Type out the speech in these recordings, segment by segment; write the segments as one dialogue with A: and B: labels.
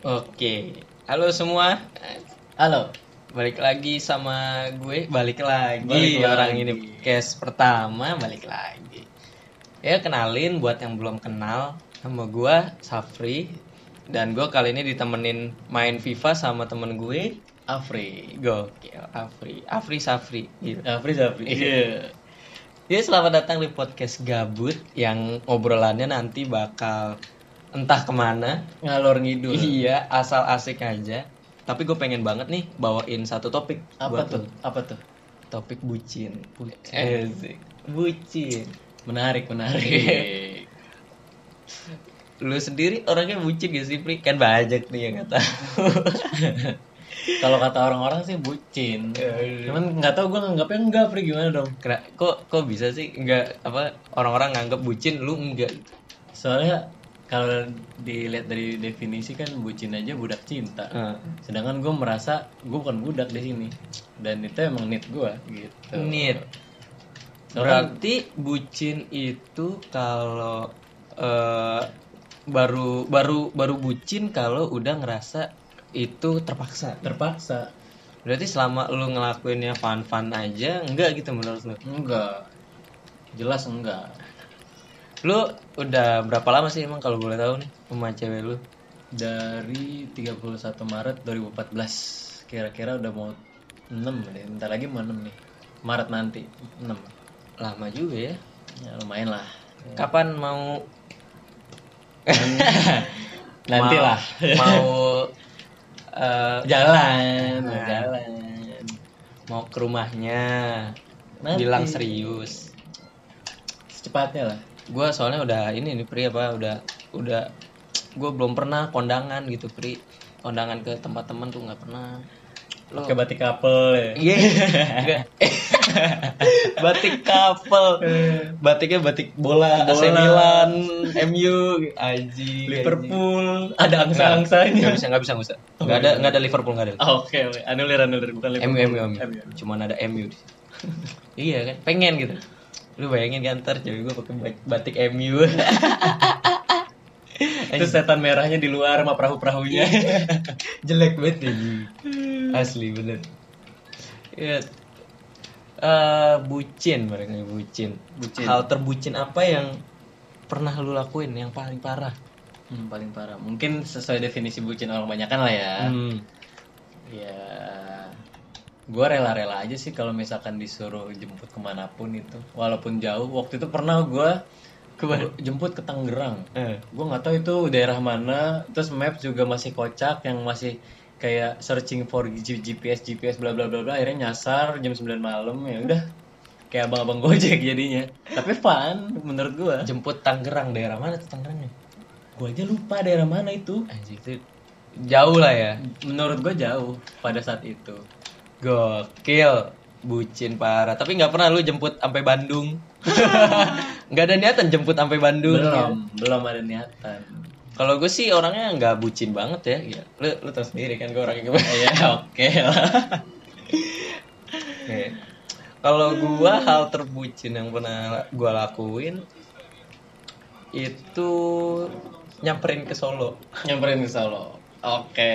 A: Oke, halo semua.
B: Halo.
A: Balik lagi sama gue, balik lagi
B: Balik
A: orang
B: lagi.
A: ini podcast pertama, balik lagi. Ya kenalin buat yang belum kenal, nama gue Safri dan gue kali ini ditemenin main FIFA sama temen gue.
B: Afri.
A: Gokil, Afri, Afri Safri. Gitu.
B: Eh, Afri Afri. Iya.
A: Jadi selamat datang di podcast Gabut yang obrolannya nanti bakal entah kemana,
B: Ngalor ngidul.
A: Iya, asal asik aja. Tapi gue pengen banget nih bawain satu topik. buat
B: Apa tuh?
A: lu.
B: Apa tuh?
A: Topik bucin.
B: Bucin.
A: Asik. Bucin.
B: Menarik, Iya. menarik.
A: Lu sendiri orangnya bucin gak sih, Pri? Kan banyak nih yang kata.
B: Kalau kata orang-orang sih bucin. Cuman nggak tahu gue nganggapnya enggak, Fri gimana dong?
A: Kera- kok kok bisa sih nggak apa orang-orang nganggap bucin lu enggak
B: Soalnya kalau dilihat dari definisi kan bucin aja budak cinta. Sedangkan gue merasa gue bukan budak di sini. Dan itu emang need gue gitu.
A: Nit.
B: Soalnya
A: Berarti bucin itu kalau eh, baru baru baru bucin kalau udah ngerasa itu terpaksa.
B: terpaksa.
A: Berarti selama lu ngelakuinnya fun-fun aja, enggak gitu menurut lu?
B: Enggak. Jelas enggak.
A: Lu udah berapa lama sih emang kalau boleh tahu nih sama cewek lu?
B: dari 31 Maret 2014 kira-kira udah mau 6 deh bentar lagi mau 6 nih Maret nanti 6
A: Lama juga ya.
B: ya, lumayan lah
A: Kapan mau
B: nanti
A: mau-
B: lah
A: mau eh,
B: jalan
A: Nah.
B: jalan
A: mau ke rumahnya.
B: Nanti.
A: Bilang serius.
B: secepatnya lah
A: Gua soalnya udah ini nih Pri apa udah udah gua belum pernah kondangan gitu Pri. Kondangan ke tempat teman tuh nggak pernah. Lu
B: pakai batik couple ya
A: Iya. Enggak. batik couple. Batiknya batik bola, Iya, AC
B: Bola.
A: Milan, MU, Aji,
B: Liverpool
A: iya.
B: ada angsa-angsanya
A: Enggak bisa, enggak bisa, enggak bisa. Enggak ada enggak ada Liverpool, enggak ada.
B: Ah, oke oke anulir anulir
A: MU,
B: bukan
A: MU,
B: Liverpool
A: MU. Cuman ada MU. di situ. iya kan, pengen gitu. Lu bayangin kan ntar cewek gua pakai bat- batik MU.
B: itu setan merahnya di luar sama
A: Iya.
B: perahu-perahunya
A: jelek banget ya Ji. asli bener ya eh, bucin barangnya bucin.
B: Bucin.
A: hal terbucin apa yang pernah lu lakuin yang paling parah
B: Hmm, paling parah mungkin sesuai definisi bucin orang banyakan lah ya
A: hmm.
B: Ya, gue rela-rela aja sih kalau misalkan disuruh jemput kemanapun itu, walaupun jauh. Waktu itu pernah gue jemput ke Tangerang.
A: eh,
B: Gue nggak tahu itu daerah mana. Terus map juga masih kocak, yang masih kayak searching for G- GPS, GPS, bla bla bla bla. Akhirnya nyasar jam 9 malam ya udah. Kayak abang-abang gojek jadinya. Tapi fun menurut gue.
A: jemput Tangerang daerah mana tuh Tangerangnya
B: Gue aja lupa daerah mana itu.
A: anjir itu jauh lah ya
B: Menurut gue jauh pada saat itu.
A: gokil bucin parah tapi nggak pernah lu jemput sampai Bandung nggak ada niatan jemput sampai Bandung
B: Belum, belum ada niatan.
A: kalau gue sih orangnya nggak bucin banget ya Gila. lu lu tau sendiri kan gue orangnya gimana
B: Ya oke lah.
A: Oke. Kalau gua hal terbucin yang pernah gua lakuin itu nyamperin ke Solo.
B: Nyamperin ke Solo. Oke.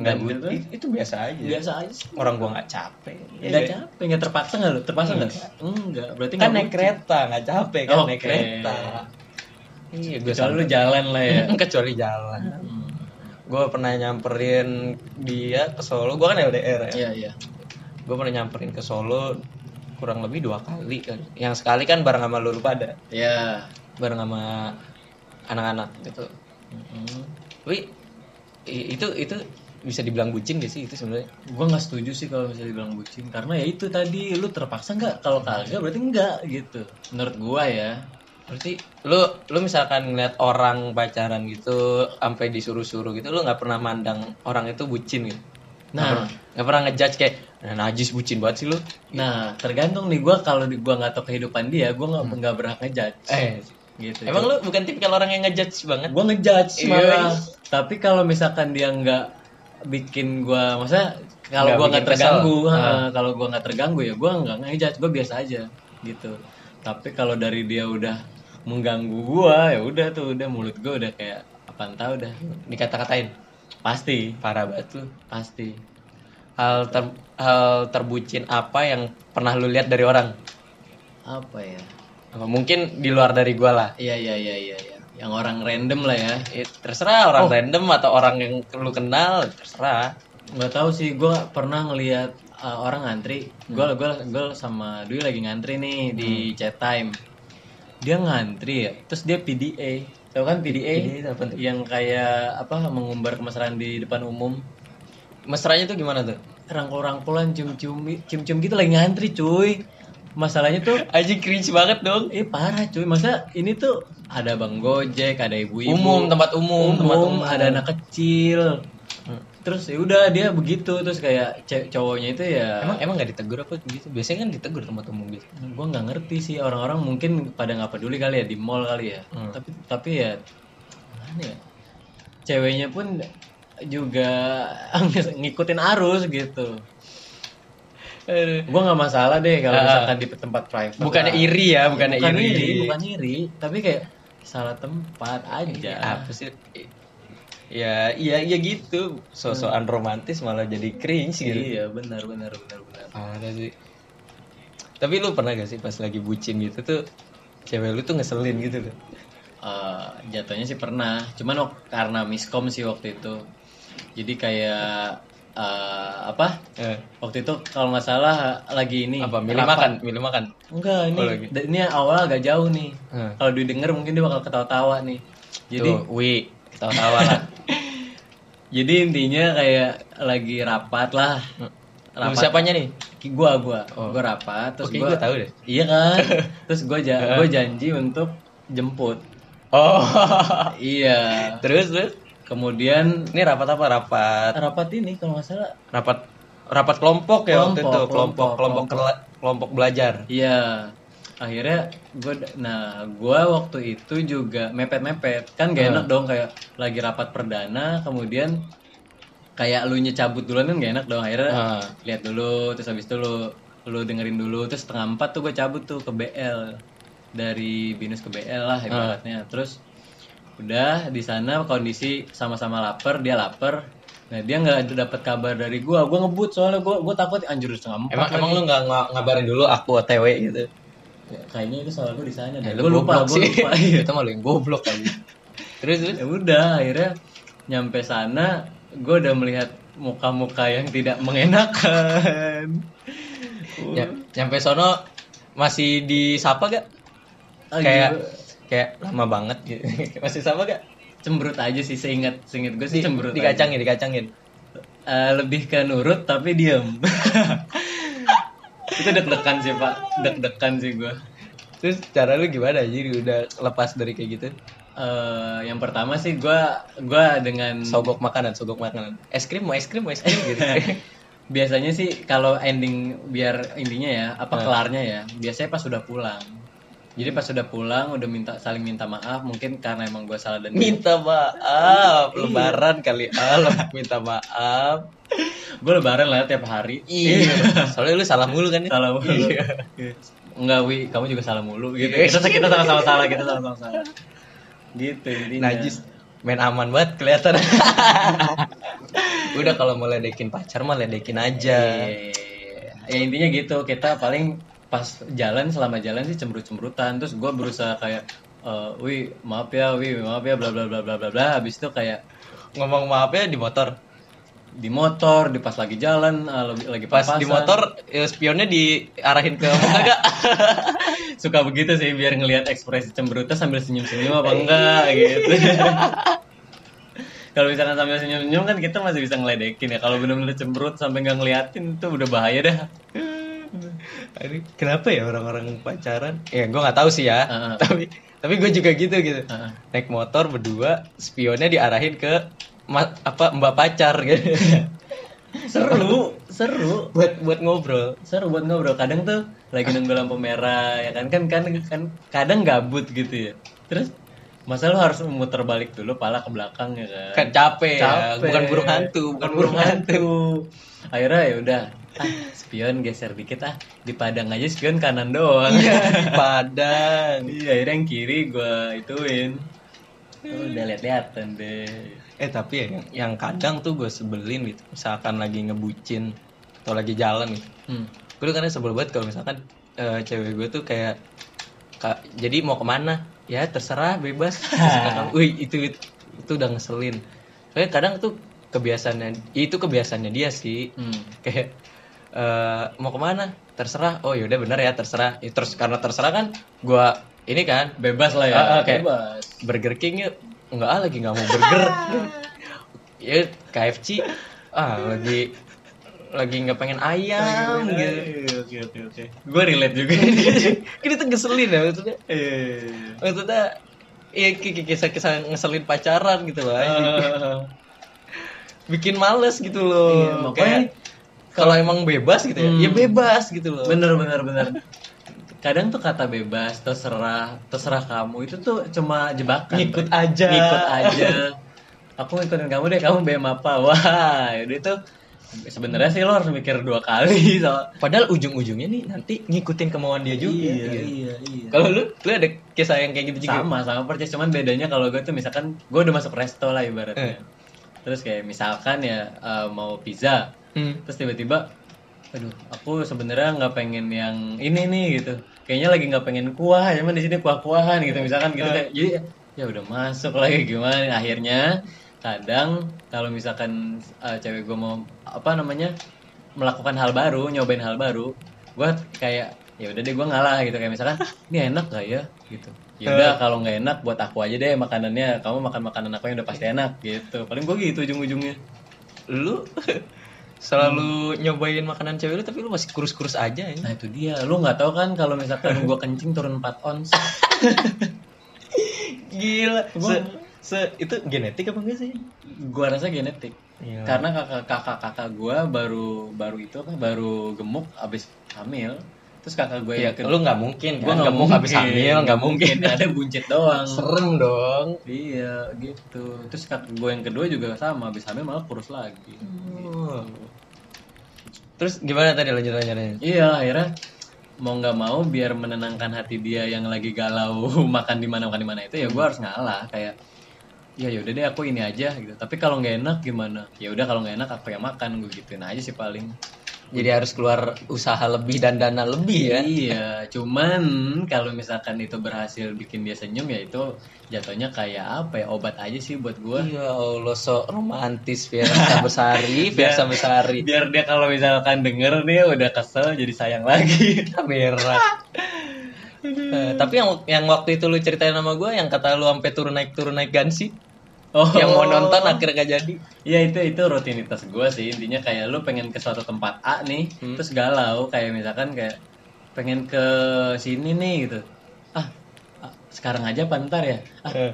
A: Nggak Iya.
B: Dan
A: bu-
B: itu
A: i- itu biasa aja.
B: biasa Iya, aja sih.
A: Orang gua nggak capek. ya
B: Nggak
A: kan?
B: capek, nggak terpaksa nggak lu? Terpaksa nggak? Enggak, berarti
A: Kan
B: nggak
A: naik
B: bucin.
A: kereta nggak capek kan naik
B: Oke.
A: kereta. Iya, gua
B: Kecuali lu jalan lah ya.
A: sampai- kecuali jalan.
B: Hmm.
A: Gua pernah nyamperin dia ke Solo. Gua kan LDR ya.
B: Iya iya.
A: Gua pernah nyamperin ke Solo kurang lebih dua kali kan. Yang sekali kan bareng sama lu pada,
B: Iya.
A: bareng sama anak-anak gitu.
B: Mm-mm.
A: Tapi i- itu itu bisa dibilang bucin gak sih itu sebenarnya?
B: Gua nggak setuju sih kalau misalnya dibilang bucin karena ya itu tadi lu terpaksa nggak kalau kagak berarti nggak gitu menurut gua ya
A: Berarti lu lu misalkan ngeliat orang pacaran gitu sampai disuruh-suruh gitu lu nggak pernah mandang orang itu bucin gitu.
B: nah
A: Nggak pernah ngejudge kayak nah, najis bucin banget sih lu.
B: nah tergantung nih gua kalau di- gua nggak tahu kehidupan dia gua nggak nggak berhak ngejudge
A: Hmm. Eh,
B: gitu
A: emang lu bukan tipikal orang yang ngejudge banget?
B: gue ngejudge
A: Iya.
B: malah tapi kalau misalkan dia nggak bikin gue maksudnya kalau
A: Nggak
B: gue
A: bikin
B: nggak
A: kesel.
B: terganggu
A: Ah.
B: eh, kalau gue nggak terganggu ya gue nggak ngejudge gue biasa aja gitu tapi kalau dari dia udah mengganggu gue ya udah tuh udah mulut gue udah kayak apaan tau udah
A: Dikata-katain.
B: Pasti,
A: Parah banget lu.
B: pasti.
A: Hal ter- hal terbucin apa yang pernah lu lihat dari orang?
B: Apa ya?
A: Apa Mungkin di luar dari gua lah.
B: Iya iya iya iya iya. Yang orang random lah ya.
A: Eh, terserah orang random atau orang yang lu kenal, terserah.
B: nggak tahu sih gue pernah ngelihat uh, orang ngantri gue
A: Hmm.
B: gua gue sama Dwi lagi ngantri nih di chat time dia ngantri ya terus dia PDA tahu kan PDA,
A: PDA itu apa tuh?
B: yang kayak apa mengumbar kemesraan di depan umum
A: Mesranya tuh gimana tuh?
B: rangkul-rangkulan cium-cium cium-cium gitu lagi ngantri cuy masalahnya tuh
A: Aji cringe banget dong.
B: eh parah cuy masa ini tuh ada bang gojek ada ibu-ibu
A: Umum, tempat umum, tempat
B: umum,
A: umum.
B: ada anak kecil
A: Hmm.
B: terus ya udah dia begitu terus kayak ce- cowoknya itu ya
A: Emang emang gak ditegur apa gitu? Biasanya kan ditegur tempat umum gitu.
B: gue nggak ngerti sih orang-orang mungkin pada nggak peduli kali ya di mall kali ya
A: Hmm.
B: tapi tapi ya gimana ya ceweknya pun juga ngikutin arus gitu
A: Aduh.
B: gue nggak masalah deh kalau
A: Ah.
B: misalkan di tempat private
A: Bukannya
B: lah.
A: iri ya, bukannya
B: bukan
A: iri.
B: bukan iri tapi kayak salah tempat aja
A: Apa sih? Ya, iya iya gitu. Sosokan romantis malah jadi cringe gitu.
B: iya benar benar benar benar
A: Parah sih. Tapi lu pernah gak sih pas lagi bucin gitu tuh cewek lu tuh ngeselin gitu loh.
B: Eh, jatuhnya sih pernah cuman wak- karena miskom sih waktu itu jadi kayak eh, apa
A: Eh,
B: waktu itu kalau nggak salah lagi ini
A: apa milih
B: rapat.
A: makan, milih makan.
B: enggak ini
A: Oh, lagi.
B: da- ini awal agak jauh nih
A: Hmm.
B: kalau didengar mungkin dia bakal ketawa-tawa nih
A: Jadi
B: jadi
A: tuh, wi, ketawa-tawa lah.
B: jadi intinya kayak lagi rapat lah
A: Lu
B: rapat
A: siapanya nih?
B: Ki- gua gua
A: Oh.
B: gua rapat terus
A: Oke,
B: gua,
A: gua tahu deh.
B: iya kan terus gua ja- gua janji untuk jemput
A: Oh.
B: iya
A: terus terus
B: kemudian
A: ini rapat apa rapat?
B: rapat ini kalau nggak salah
A: Rapat rapat kelompok ya waktu
B: Kelompok,
A: itu, kelompok
B: kelompok,
A: kelompok kela- kelompok belajar.
B: Iya, akhirnya gue, nah gue waktu itu juga mepet-mepet kan gak
A: Hmm.
B: enak dong kayak lagi rapat perdana, kemudian kayak lu cabut duluan kan gak enak dong akhirnya
A: Hmm.
B: lihat dulu, terus habis itu lu lu dengerin dulu, terus setengah empat tuh gue cabut tuh ke BL dari binus ke BL lah ibaratnya, terus udah di sana kondisi sama-sama lapar dia lapar, nah dia nggak dapet kabar dari gue, gue ngebut soalnya gue gue takut anjir udah setengah empat
A: Emang emang lu nggak nga- ngabarin dulu aku OTW gitu?
B: Ya, kayaknya itu salah gue di sana
A: Eh,
B: deh. Gue lupa, gue lupa. Iya.
A: itu malah yang goblok kali. terus terus.
B: ya udah, akhirnya nyampe sana, gue udah melihat muka-muka yang tidak mengenakan.
A: Ya, nyampe sono masih disapa gak?
B: Ah,
A: kayak
B: gila.
A: kayak lama banget gitu. masih sama gak?
B: cemberut aja sih, seingat seingat gue
A: Di,
B: sih cemberut. aja.
A: dikacangin, dikacangin.
B: Eh, lebih ke nurut tapi diem. itu deg-degan sih pak, deg-degan sih gue.
A: Terus cara lu gimana anjir udah lepas dari kayak gitu?
B: Eh, yang pertama sih gue gua dengan
A: Sogok makanan, sogok makanan. Es krim, mau es krim, mau es krim gitu.
B: biasanya sih kalau ending biar intinya ya apa
A: Nah.
B: kelarnya ya biasanya pas sudah pulang jadi pas sudah pulang udah minta saling minta maaf mungkin karena emang gue salah dan
A: minta maaf, lebaran kali ah, minta maaf.
B: gue lebaran lah ya tiap hari
A: Iya. Soalnya lu salah mulu kan ya?
B: salah mulu enggak wi kamu juga salah mulu gitu
A: Iya.
B: kita kita sama-sama salah kita sama-sama salah gitu intinya
A: Najis. Main aman banget kelihatan. Udah kalau mau ledekin pacar mah ledekin aja.
B: Iya. ya intinya gitu kita paling pas jalan selama jalan sih cemberut-cemberutan terus gue berusaha kayak eh wih maaf ya wih maaf ya bla bla bla bla bla bla habis itu kayak
A: Ngomong maafnya di motor.
B: di motor di pas lagi jalan eh, lagi lagi
A: Pas
B: papasan.
A: di motor ya, spionnya diarahin ke muka gak?
B: suka begitu sih biar ngelihat ekspresi cemberutnya sambil senyum-senyum
A: Eh.
B: apa enggak gitu kalau misalkan sambil senyum-senyum kan kita masih bisa ngeledekin ya kalau benar-benar cemberut sampai nggak ngeliatin itu udah bahaya dah
A: Aduh, kenapa ya orang-orang pacaran? Ya gue nggak tahu sih ya.
B: Heeh.
A: Tapi tapi gue juga gitu gitu.
B: Heeh.
A: Naik motor berdua, spionnya diarahin ke ma- apa mbak pacar gitu.
B: seru seru
A: buat buat ngobrol.
B: seru buat ngobrol kadang tuh lagi nunggu lampu merah ya kan kan kan, kan kadang gabut gitu ya terus masa lu harus muter balik dulu pala ke belakang ya kan
A: Kan capek, ya.
B: Capek.
A: bukan burung hantu, bukan burung hantu.
B: akhirnya ya udah ah, spion geser dikit ah di padang aja spion kanan doang
A: Di Padang.
B: iya akhirnya yang kiri gua ituin udah lihat-lihatan deh
A: eh tapi ya, yang, yang kadang tuh gue sebelin gitu misalkan lagi ngebucin atau lagi jalan gitu
B: Hmm.
A: gue tuh kadang sebel banget kalau misalkan eh, cewek gue tuh kayak "Kak, jadi mau kemana ya terserah bebas Terus kadang, wih itu, itu itu udah ngeselin soalnya kadang tuh kebiasaannya ya itu kebiasaannya dia sih
B: Hmm.
A: kayak eh, mau kemana terserah oh yaudah bener ya terserah Ya, terus karena terserah kan gua ini kan
B: Bebas lah ya.
A: Ah, ah, kayak-
B: Bebas.
A: Burger King yuk nggak ah, lagi nggak mau burger ya KFC ah lagi lagi nggak pengen ayam gitu
B: Oke oke oke. Gue relate juga ini.
A: ini tuh ngeselin ya maksudnya
B: Iya.
A: maksudnya ya ki- ki- kisah-kisah ngeselin pacaran gitu loh
B: Ah.
A: anjing.
B: eh,
A: bikin males gitu
B: Iya,
A: loh
B: makanya-
A: kayak kalau emang bebas gitu ya
B: Hmm.
A: ya bebas gitu loh
B: Bener bener bener. Kadang tuh kata bebas, terserah, terserah kamu itu tuh cuma jebakan.
A: Ngikut
B: Bang.
A: aja.
B: Ngikut aja. Aku ngikutin kamu deh, kamu BM apa? Wah, itu tuh sebenarnya sih lo harus mikir dua kali soal
A: padahal ujung-ujungnya nih nanti ngikutin kemauan dia juga
B: Iya,
A: gitu.
B: iya, iya.
A: Kalau lu, lu ada kisah yang kayak gitu juga?
B: sama sama persis cuman bedanya kalau gue tuh misalkan gue udah masuk resto lah ibaratnya
A: Eh.
B: terus kayak misalkan ya eh, mau pizza
A: Hmm.
B: terus tiba-tiba aduh aku sebenarnya nggak pengen yang ini nih gitu kayaknya lagi nggak pengen kuah ya, cuman di sini kuah-kuahan gitu misalkan gitu kayak jadi ya udah masuk lagi gimana akhirnya kadang kalau misalkan eh, cewek gue mau apa namanya melakukan hal baru nyobain hal baru gue kayak ya udah deh gue ngalah gitu kayak misalkan ini enak gak ya gitu ya udah kalau nggak enak buat aku aja deh makanannya kamu makan makanan aku yang udah pasti enak gitu paling gue gitu ujung-ujungnya
A: Lu selalu nyobain makanan cewek lu tapi lu masih kurus-kurus aja ya.
B: Nah itu dia, lu nggak tahu kan kalau misalkan gua kencing turun 4 ons.
A: Gila. Se,
B: Gua-
A: se- itu genetik apa enggak sih?
B: Gua rasa genetik.
A: Iya.
B: Karena kakak-kakak gua baru baru itu apa baru gemuk abis hamil. Terus kakak gue
A: Iya,
B: yang kedua
A: lu nggak mungkin
B: gua
A: kan gemuk habis hamil, nggak mungkin.
B: ada buncit doang.
A: Serem dong.
B: Iya, gitu. Terus kakak gue yang kedua juga sama, abis hamil malah kurus lagi.
A: Terus gimana tadi lanjut lanjutannya?
B: Iya, akhirnya mau nggak mau biar menenangkan hati dia yang lagi galau makan di mana makan di mana itu ya gue harus ngalah kayak ya yaudah deh aku ini aja gitu tapi kalau nggak enak gimana ya udah kalau nggak enak aku yang makan gue gituin aja sih paling
A: Jadi harus keluar usaha lebih dan dana lebih ya.
B: iya cuman kalau misalkan itu berhasil bikin dia senyum ya itu jatuhnya kayak apa ya obat aja sih buat gue
A: Ya Allah, sok romantis Fiersa Besari, Fiersa Besari.
B: biar dia kalau misalkan denger dia udah kesel jadi sayang lagi
A: kamera. Eh, tapi yang yang waktu itu lu ceritain sama gue yang kata lu sampai turun naik turun naik gansi
B: oh
A: yang mau nonton akhirnya gak jadi
B: Ya itu itu rutinitas gue sih intinya kayak lu pengen ke suatu tempat A nih
A: Hmm.
B: terus galau kayak misalkan kayak pengen ke sini nih gitu ah ah, sekarang aja apa ntar ya ah
A: Eh,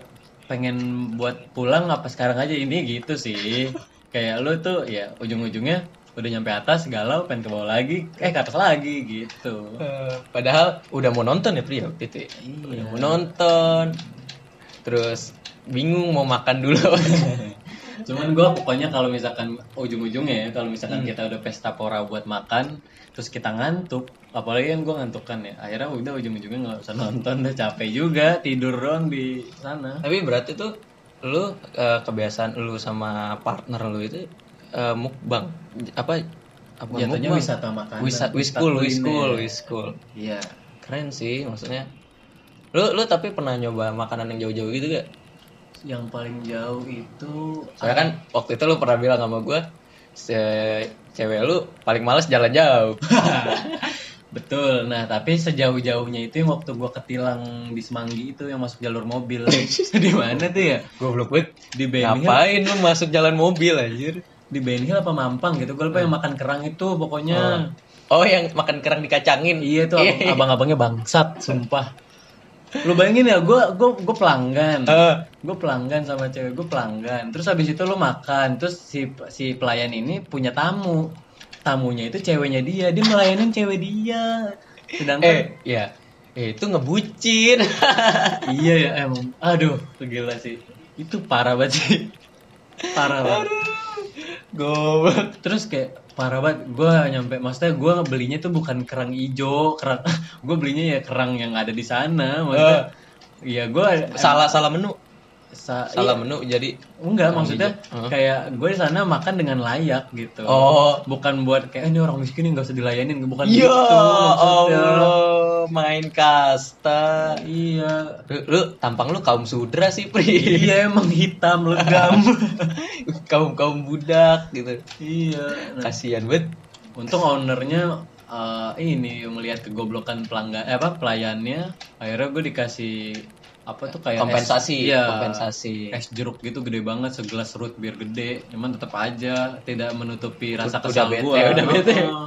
B: pengen buat pulang apa sekarang aja ini gitu sih kayak lu tuh ya ujung-ujungnya udah nyampe atas galau pengen ke bawah lagi eh ke atas lagi gitu
A: Eh, padahal udah mau nonton ya Pri waktu itu ya? udah
B: iya
A: mau nonton terus bingung mau makan dulu
B: Cuman gua pokoknya kalau misalkan ujung-ujungnya ya, kalau misalkan kita udah pesta pora buat makan, terus kita ngantuk, apalagi kan gue ngantuk kan ya, akhirnya udah ujung-ujungnya nggak usah nonton, udah capek juga, tidur doang di sana.
A: tapi berarti tuh lu eh, kebiasaan lu sama partner lu itu eh, mukbang apa apa
B: Jatuhnya
A: mukbang?
B: wisata ya. makanan.
A: Wisa- wiskul wiskul wiskul
B: Iya.
A: keren sih maksudnya lu lu tapi pernah nyoba makanan yang jauh-jauh gitu gak
B: Yang paling jauh itu
A: Soalnya kan
B: Ah.
A: waktu itu lu pernah bilang sama gue, cewek lu paling males jalan jauh.
B: Betul. Nah, tapi sejauh-jauhnya itu yang waktu gua ketilang di Semanggi itu yang masuk jalur mobil. di mana tuh ya?
A: Goblok banget.
B: Di Ben Hill.
A: Ngapain lu masuk jalan mobil anjir?
B: Di Ben Hill apa Mampang gitu. Gue lupa yang makan kerang itu pokoknya.
A: Oh, yang makan kerang dikacangin.
B: Ah. Iya tuh abang- abang-abangnya bangsat, sumpah. Lu bayangin ya, gue gue gue pelanggan,
A: Eh,
B: gue pelanggan sama cewek gue pelanggan. Terus habis itu lu makan, terus si si pelayan ini punya tamu, tamunya itu ceweknya dia, dia melayanin cewek dia.
A: eh,
B: Sedangkan
A: ya. Eh, itu ngebucin.
B: iya ya emang, aduh gila sih, itu parah banget sih, parah banget.
A: Goblok.
B: terus kayak parah banget gue nyampe maksudnya gue belinya tuh bukan kerang ijo kerang
A: Eh.
B: gue belinya ya kerang yang ada di sana maksudnya ya gue
A: Salah salah menu.
B: sa-
A: salah
B: iya.
A: menu jadi
B: Enggak,
A: Orang
B: maksudnya
A: bijak. Heeh.
B: kayak gue di sana makan dengan layak gitu.
A: Oh.
B: bukan buat kayak "Eh, ini orang miskin nggak usah dilayanin, bukan
A: Ya
B: gitu maksudnya.
A: Allah, main kasta.
B: Iya.
A: Lu, lu tampang lu kaum sudra sih, Pri.
B: iya emang hitam legam.
A: Kaum-kaum budak gitu.
B: iya. Nah,
A: Kasihan banget.
B: untung ownernya eh, ini melihat kegoblokan pelanggan eh, apa pelayannya, akhirnya gue dikasih apa tuh kayak es-
A: Kompensasi,
B: iya,
A: kompensasi.
B: es jeruk gitu gede banget segelas root biar gede cuman tetap aja tidak menutupi rasa
A: Udah
B: kesal
A: bete,
B: gue
A: udah bete.
B: Heeh.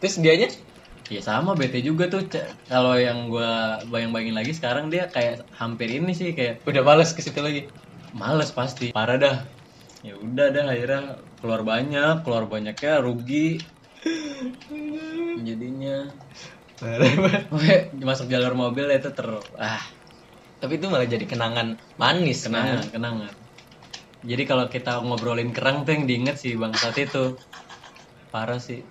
A: Terus dianya
B: Ya sama bete juga tuh Ce. kalau yang gua bayang-bayangin lagi sekarang dia kayak hampir ini sih kayak
A: udah males ke situ lagi.
B: males pasti parah dah ya udah dah akhirnya keluar banyak keluar banyaknya rugi jadinya Pokoknya masuk jalur mobil itu ter ah
A: Tapi itu malah jadi kenangan manis.
B: kenangan kenangan jadi kalau kita ngobrolin kerang tuh yang diinget sih bang saat itu parah sih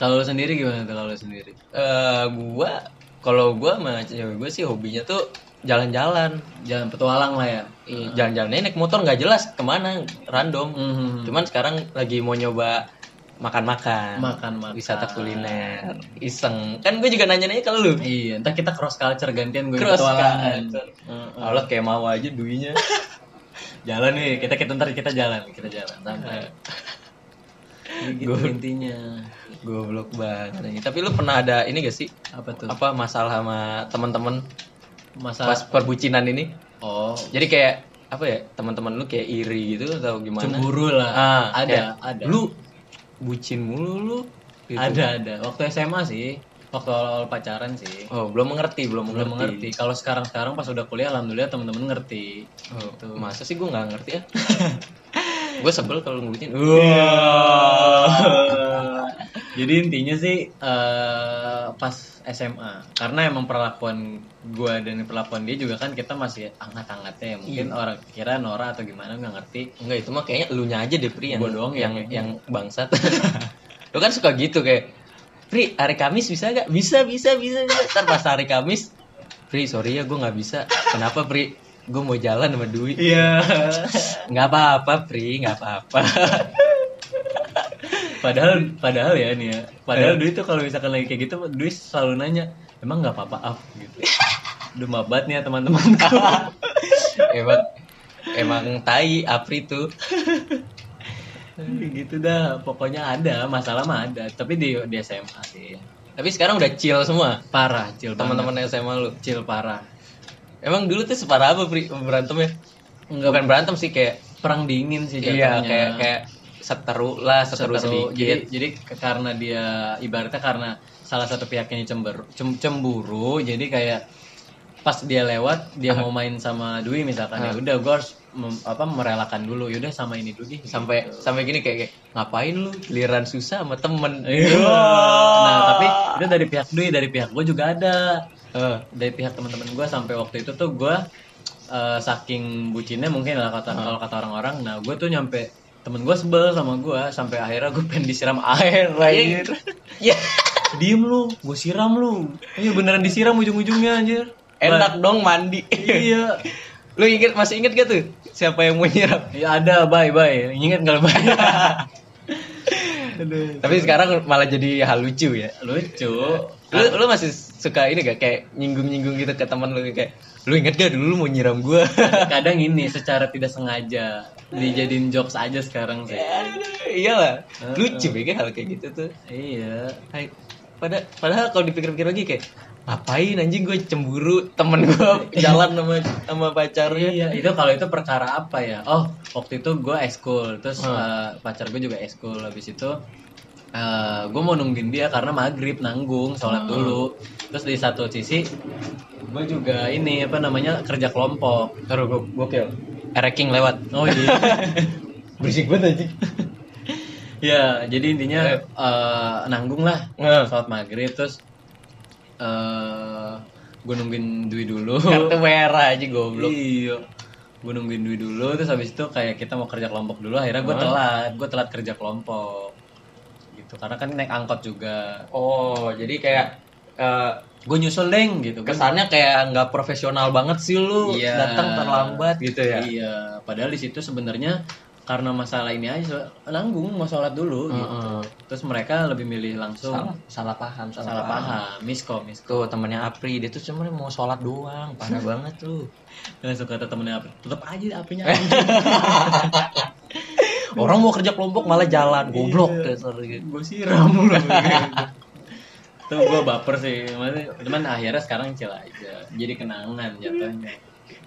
B: kalau lu sendiri gimana tuh kalau lu sendiri
A: Eh, gua kalau gua sama cewek gua sih hobinya tuh jalan-jalan.
B: jalan petualang lah ya
A: Ih, Jalan-jalannya Iya, naik motor nggak jelas kemana, random.
B: Mhm.
A: Cuman sekarang lagi mau nyoba makan-makan.
B: Makan-makan.
A: Wisata kuliner. Iseng. Kan gue juga nanya-nanya ke lu.
B: Iya, entar kita cross culture gantian gue yang
A: Cross
B: petualangan. Iya.
A: culture.
B: Heeh.
A: Allah kayak mau aja duinya.
B: Jalan nih, kita kita ntar kita jalan, kita jalan
A: Iya.
B: santai. Ya gitu intinya.
A: Goblok banget. anjing. Tapi lu pernah ada ini gak sih?
B: Apa tuh?
A: Apa masalah sama teman-teman
B: Masalah
A: pas perbucinan ini?
B: oh,
A: Jadi kayak apa ya? Teman-teman lu kayak iri gitu atau gimana?
B: cemburu lah.
A: Ah,
B: ada,
A: kayak,
B: ada.
A: Lu bucin mulu lu. gitu.
B: Ada, ada. Waktu SMA sih, waktu awal-awal pacaran sih.
A: Oh, belum mengerti, belum mengerti.
B: Belum mengerti. Kalau sekarang-sekarang pas udah kuliah alhamdulillah teman-teman ngerti.
A: Oh,
B: Gitu.
A: Masa sih gue nggak ngerti ya? gue sebel kalau ngebucin. Iya.
B: Iya. Jadi intinya sih eh, pas SMA karena emang perlakuan gua dan perlakuan dia juga kan kita masih hangat-hangatnya ya mungkin orang kira Nora atau gimana nggak ngerti
A: Enggak itu mah kayaknya elunya aja deh Pri yang
B: Gua doang ya,
A: yang
B: kayaknya.
A: yang bangsat. lu kan suka gitu kayak Pri hari Kamis bisa gak? Bisa bisa bisa. bisa." Ntar pas hari Kamis Pri sorry ya gue nggak bisa. Kenapa Pri? Gue mau jalan sama Dwi.
B: Iya.
A: Nggak apa-apa Pri, nggak apa-apa.
B: padahal padahal ya nih ya. Padahal Dwi tuh kalau misalkan lagi kayak gitu Dwi selalu nanya emang nggak apa-apa af gitu. Duh mabat nih ya teman-temanku.
A: emang emang tai Apri tuh.
B: gitu dah pokoknya ada masalah mah ada tapi di di SMA sih
A: Tapi sekarang udah chill semua
B: parah cil banget.
A: teman-teman SMA lu.
B: kecil parah
A: Emang dulu tuh separah apa Pri berantemnya?
B: Enggak.
A: Bukan berantem sih kayak
B: perang dingin sih
A: iya
B: jatuhnya
A: kayak kayak seteru lah, seteru,
B: seteru
A: sedikit.
B: jadi jadi ke- karena dia ibaratnya karena salah satu pihaknya cember cem- cemburu jadi kayak pas dia lewat dia mau main sama Dwi misalkan ya udah gue harus mem- apa merelakan dulu ya udah sama ini dulu deh
A: sampai sampai gini kayak, kayak, ngapain lu giliran susah sama temen
B: Eh. Iya. nah tapi itu dari pihak Dwi dari pihak gue juga ada
A: Eh,
B: dari pihak teman-teman gue sampai waktu itu tuh gue saking bucinnya mungkin lah kata kalau kata orang-orang nah gue tuh nyampe temen gue sebel sama gue sampai akhirnya gue pengen disiram air anjir
A: ya
B: diem lu gue siram lu iya beneran disiram ujung-ujungnya anjir
A: enak dong mandi
B: iya
A: lu inget masih inget gak tuh siapa yang mau nyerap
B: ya ada bye bye ingat kalau bye
A: tapi sekarang malah jadi hal lucu ya
B: lucu
A: lu lu masih suka ini gak kayak nyinggung nyinggung gitu ke teman lu kayak lu inget gak dulu lu mau nyiram gua
B: kadang ini secara tidak sengaja dijadiin jokes aja sekarang sih
A: iyalah Iya lucu ya hal kayak gitu tuh
B: iya
A: Hai. Pada, padahal kalau dipikir-pikir lagi kayak ngapain anjing gue cemburu temen gue jalan sama sama pacarnya
B: Iya, itu kalau itu perkara apa ya? Oh, waktu itu gue ekskul, terus
A: Hmm.
B: eh, pacar gue juga ekskul. Habis itu eh gue mau nungguin dia karena maghrib nanggung sholat dulu. Terus di satu sisi gue juga ini apa namanya kerja kelompok.
A: Taruh gue gokil. Ereking lewat.
B: Oh iya.
A: Berisik banget anjing.
B: ya, jadi intinya eh, Hmm. nanggung lah
A: Heeh.
B: sholat maghrib terus eh gue nungguin Dwi dulu.
A: Kartu merah aja goblok.
B: Iya. Gue nungguin duit dulu terus habis itu kayak kita mau kerja kelompok dulu akhirnya gue
A: Hah?
B: telat, gue telat kerja kelompok. Gitu karena kan naik angkot juga.
A: Oh, jadi kayak eh,
B: gue nyusul deng gitu kan
A: kesannya kayak nggak profesional banget sih lu
B: Iya.
A: datang terlambat gitu ya
B: iya padahal di situ sebenarnya karena masalah ini aja nanggung mau sholat dulu gitu.
A: Heeh.
B: terus mereka lebih milih langsung
A: salah salah paham
B: salah, paham miskom miskom
A: tuh temennya Apri dia tuh cuma mau sholat doang parah banget lu
B: langsung kata temennya api tetap aja apinya
A: orang mau kerja kelompok malah jalan goblok
B: Iya.
A: dasar gitu
B: gue siram lu tuh gue baper sih Maksudnya, cuman akhirnya sekarang chill aja jadi kenangan jatuhnya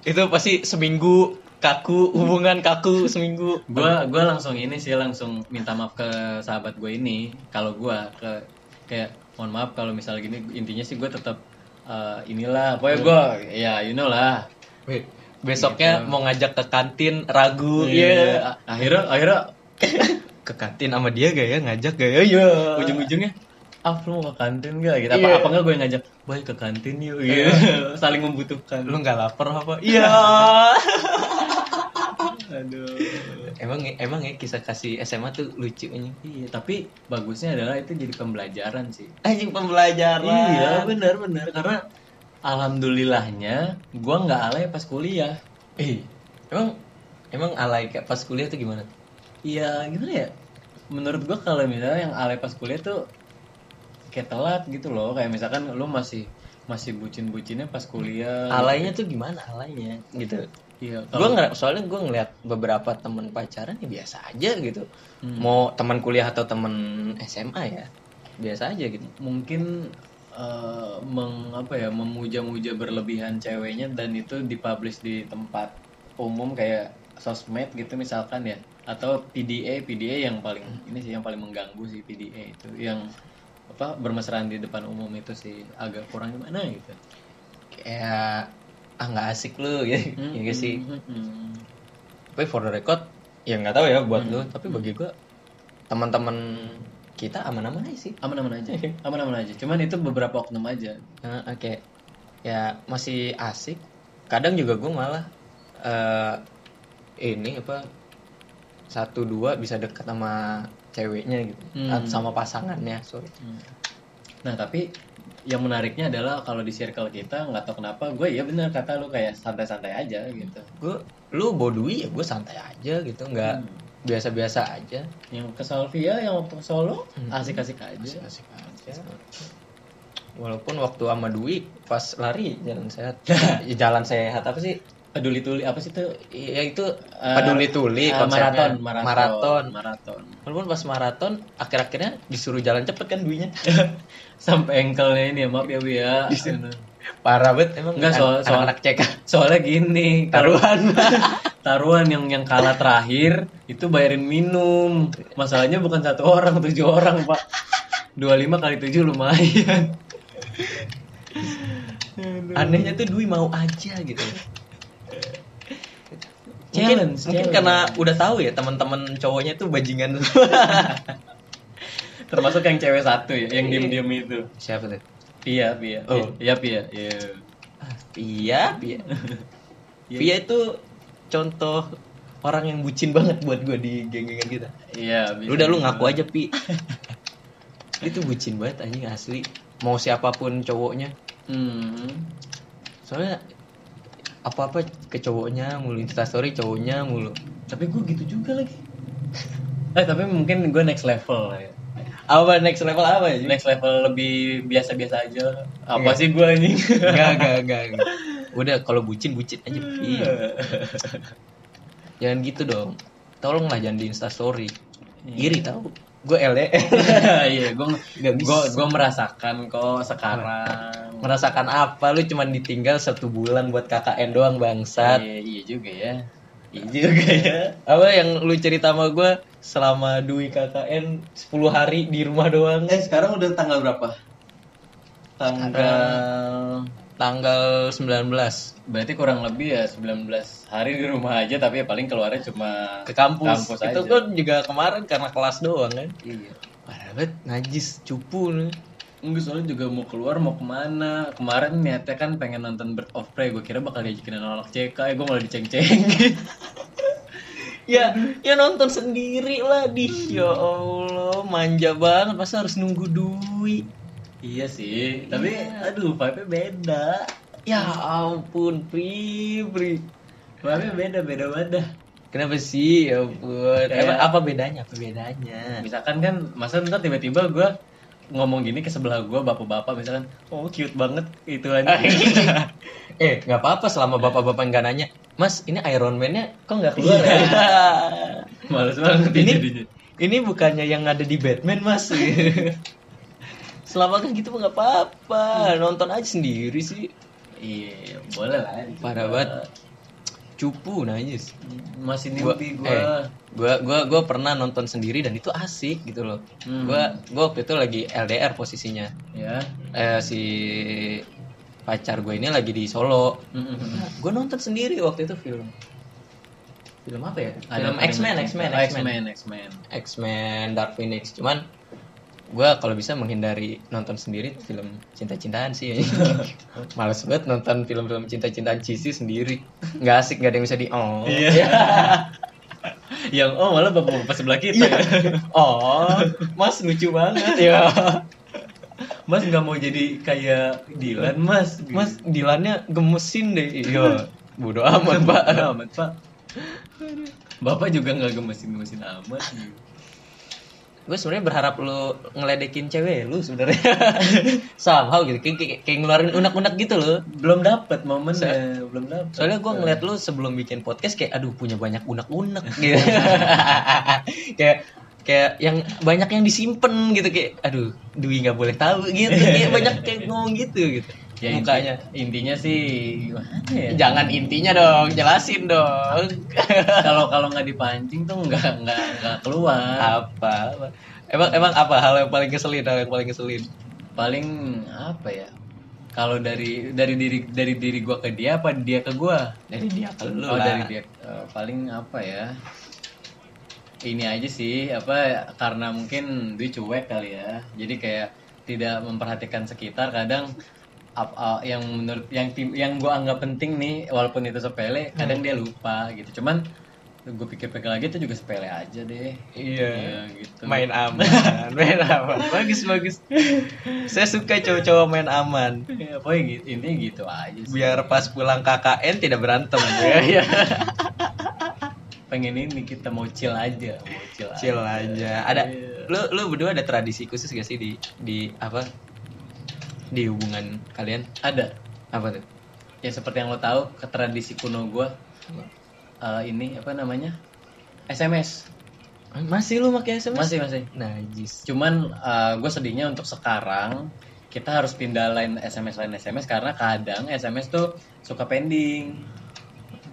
A: itu pasti seminggu kaku hubungan kaku seminggu
B: gue gua langsung ini sih langsung minta maaf ke sahabat gue ini kalau gue ke kayak mohon maaf kalau misalnya gini intinya sih gue tetap eh, inilah pokoknya gue ya you know lah
A: Weh, besoknya
B: Gitu.
A: mau ngajak ke kantin ragu ya
B: Iya. akhirnya akhirnya
A: ke kantin sama dia gak ya ngajak gak ya iya
B: ujung-ujungnya ah lu mau ke kantin gak gitu
A: Iya.
B: apa apa enggak gue ngajak boy ke kantin yuk gitu. saling membutuhkan
A: lu nggak lapar apa iya
B: aduh
A: emang emang ya kisah kasih SMA tuh lucu anjing
B: iya tapi bagusnya adalah itu jadi pembelajaran sih
A: anjing pembelajaran
B: Iya benar benar karena alhamdulillahnya gua nggak alay pas kuliah.
A: eh emang emang alay kayak pas kuliah tuh gimana
B: Iya gimana ya? Menurut gua kalau misalnya yang alay pas kuliah tuh kayak telat gitu loh. Kayak misalkan lu masih masih bucin-bucinnya pas kuliah.
A: alaynya tuh gimana alaynya gitu
B: Iya.
A: gue
B: kalau-
A: nggak soalnya gue ngeliat beberapa temen pacaran ya biasa aja gitu
B: Hmm.
A: mau teman kuliah atau temen SMA ya biasa aja gitu
B: mungkin eh, meng apa ya memuja-muja berlebihan ceweknya dan itu dipublish di tempat umum kayak sosmed gitu misalkan ya atau PDA PDA yang paling
A: Hmm.
B: ini sih yang paling mengganggu sih PDA itu yang apa bermesraan di depan umum itu sih agak kurang gimana gitu
A: kayak ah nggak asik lu ya ya nggak sih
B: Mm, mm, mm.
A: tapi for the record ya nggak tahu ya buat lu tapi bagi gue teman-teman kita aman-aman aja sih
B: aman-aman aja
A: Iya.
B: aman-aman aja cuman itu beberapa oknum aja
A: Nah, oke ya masih asik kadang juga gue malah eh ini apa satu dua bisa dekat sama ceweknya gitu
B: Hmm.
A: atau sama pasangannya sorry
B: Nah tapi yang menariknya adalah kalau di circle kita nggak tahu kenapa gue ya bener kata lu kayak santai-santai aja gitu.
A: gue lu bodui ya gue santai aja gitu nggak
B: Hmm.
A: biasa-biasa aja
B: Yang ke Salvia, yang waktu ke Solo
A: Hmm.
B: asik-asik aja.
A: asik aja walaupun waktu sama Dwi pas lari jalan sehat Ya, jalan sehat apa sih
B: Peduli tuli apa sih tuh?
A: ya itu
B: Eh,
A: peduli tuli
B: eh,
A: konsepnya.
B: maraton, maraton,
A: maraton
B: maraton.
A: walaupun pas maraton akhir-akhirnya disuruh jalan cepet kan Dwi-nya
B: Sampai engkelnya ini ya, maaf ya Bu ya.
A: parah banget emang
B: Nggak,
A: an-
B: soal- soal-
A: anak-anak CK
B: Soalnya gini, kalau
A: taruhan
B: taruhan yang yang kalah terakhir itu bayarin minum. Masalahnya bukan satu orang, tujuh orang, Pak. 25 kali 7 lumayan.
A: anehnya tuh Dwi mau aja gitu mungkin,
B: Challenge,
A: mungkin
B: challenge.
A: karena udah tahu ya teman-teman cowoknya tuh bajingan
B: Termasuk yang cewek satu ya,
A: Iya.
B: yang diem-diem itu.
A: siapa tuh
B: Pia, Pia.
A: Oh.
B: Iya, Pia.
A: Pia
B: Iya.
A: Ah, Pia
B: Iya.
A: Pia itu contoh orang yang bucin banget buat gue di geng-gengan kita
B: Iya, bisa
A: lu udah lu
B: gitu.
A: ngaku aja Pi itu bucin banget anjing asli mau siapapun cowoknya
B: Hmm.
A: soalnya apa-apa ke cowoknya mulu instastory cowoknya mulu
B: Tapi gue gitu juga lagi. eh, tapi mungkin gue next level lah ya.
A: apa next level apa ya
B: Next level lebih biasa-biasa aja. lah. Apa
A: Iya.
B: sih gue anjing?
A: enggak enggak enggak enggak. udah kalau bucin bucin aja Pi jangan gitu dong tolonglah jangan di instastory iri tau E. gue LDR
B: Iya, gue
A: Nggak bisa.
B: gue gue merasakan kok sekarang.
A: merasakan apa lu cuman ditinggal satu bulan buat KKN doang bangsat
B: Iya, iya juga ya. Iya juga ya.
A: apa yang lu cerita sama gue selama Dwi KKN 10 hari di rumah doang
B: Eh, sekarang udah tanggal berapa? Tanggal
A: tanggal 19
B: Berarti kurang lebih ya 19 hari di rumah aja tapi ya paling keluarnya cuma
A: ke kampus,
B: Kampus
A: itu
B: aja.
A: kan juga kemarin karena kelas doang kan
B: Iya.
A: parah banget najis cupu nih
B: Enggak soalnya juga mau keluar mau kemana Kemarin niatnya kan pengen nonton Bird of Prey Gue kira bakal diajakin anak CK Eh gue malah diceng-cengin
A: ya ya nonton sendiri lah di ya Allah manja banget masa harus nunggu Dwi
B: Iya sih, tapi
A: Iya.
B: aduh vibe-nya beda.
A: Ya ampun, Pri, Pri.
B: Vibe-nya beda, beda banget dah.
A: Kenapa sih? Ya ampun.
B: Kayak-
A: Emang apa bedanya? Apa bedanya?
B: Misalkan kan, masa ntar tiba-tiba gue ngomong gini ke sebelah gue bapak-bapak misalkan oh cute banget itu anjing
A: eh, nggak apa-apa selama bapak-bapak nggak nanya. Mas, ini Iron Man-nya kok nggak keluar? ya?" Iya.
B: males banget ini
A: Ini-
B: jadinya
A: ini bukannya yang ada di Batman, Mas. selama kan gitu mah nggak apa-apa. Nonton aja sendiri sih. Iya.
B: iya boleh lah dicoba.
A: Parah banget. Cupu najis.
B: masih
A: gua,
B: mimpi gue
A: eh, gua gua gua pernah nonton sendiri dan itu asik gitu loh
B: Hmm.
A: gua gua waktu itu lagi LDR posisinya
B: ya
A: eh, si pacar gue ini lagi di Solo
B: Mm-mm.
A: Nah, gua nonton sendiri waktu itu film film apa ya film
B: apa
A: X-Men
B: dengan-
A: X-Men
B: Oh,
A: X-Men
B: X-Men X-Men
A: X-Men Dark Phoenix cuman gua kalau bisa menghindari nonton sendiri film cinta-cintaan sih males banget nonton film-film cinta-cintaan cheesy sendiri nggak asik nggak ada yang bisa di oh
B: Iya. yang oh malah bapak-bapak sebelah
A: Iya.
B: kita ya.
A: oh mas lucu banget ya
B: Mas nggak mau jadi kayak Dilan Mas.
A: mas Dilannya gemesin deh iya bodo amat pak
B: Bodo amat Pak. Bapak juga nggak gemesin-gemesin amat. iya.
A: gue sebenarnya berharap lu ngeledekin cewek lu sebenarnya somehow gitu kayak, kayak, kayak ngeluarin unek-unek gitu loh
B: Belum dapat momennya, belum dapat.
A: soalnya gue ngeliat lu sebelum bikin podcast kayak aduh punya banyak unek-unek gitu kayak kayak yang banyak yang disimpan gitu kayak aduh Dwi nggak boleh tahu gitu kayak banyak kayak ngomong gitu gitu
B: ya, inti-
A: mukanya
B: intinya sih gimana ya?
A: jangan intinya dong jelasin dong
B: Kalau kalau nggak dipancing tuh nggak nggak nggak keluar.
A: apa emang emang apa hal yang paling keselin hal yang paling keselin
B: Paling apa ya? Kalau dari dari diri dari diri gua ke dia apa dia ke gua?
A: dari dia ke lu
B: oh,
A: lah.
B: dari dia eh, paling apa ya? Ini aja sih apa karena mungkin Dwi cuek kali ya. Jadi kayak tidak memperhatikan sekitar kadang ap- a- yang menurut yang tim yang gua anggap penting nih walaupun itu sepele
A: Hmm.
B: kadang dia lupa gitu. Cuman gue pikir-pikir lagi itu juga sepele aja deh.
A: iya
B: Iya, gitu.
A: main aman main aman bagus bagus saya suka cowok-cowok main aman
B: Ya, pokoknya gitu, intinya gitu aja sih.
A: biar pas pulang KKN tidak berantem ya
B: pengen ini kita mau chill aja, mau chill,
A: chill
B: aja.
A: aja ada
B: Iya.
A: lu lu berdua ada tradisi khusus gak sih di di apa di hubungan kalian
B: Ada.
A: apa tuh
B: Ya seperti yang lo tahu, ke tradisi kuno gua eh, ini apa namanya? SMS.
A: masih lu pakai sms
B: Masih masih.
A: najis
B: Cuman gue sedihnya untuk sekarang kita harus pindah lain SMS lain SMS karena kadang SMS tuh suka pending.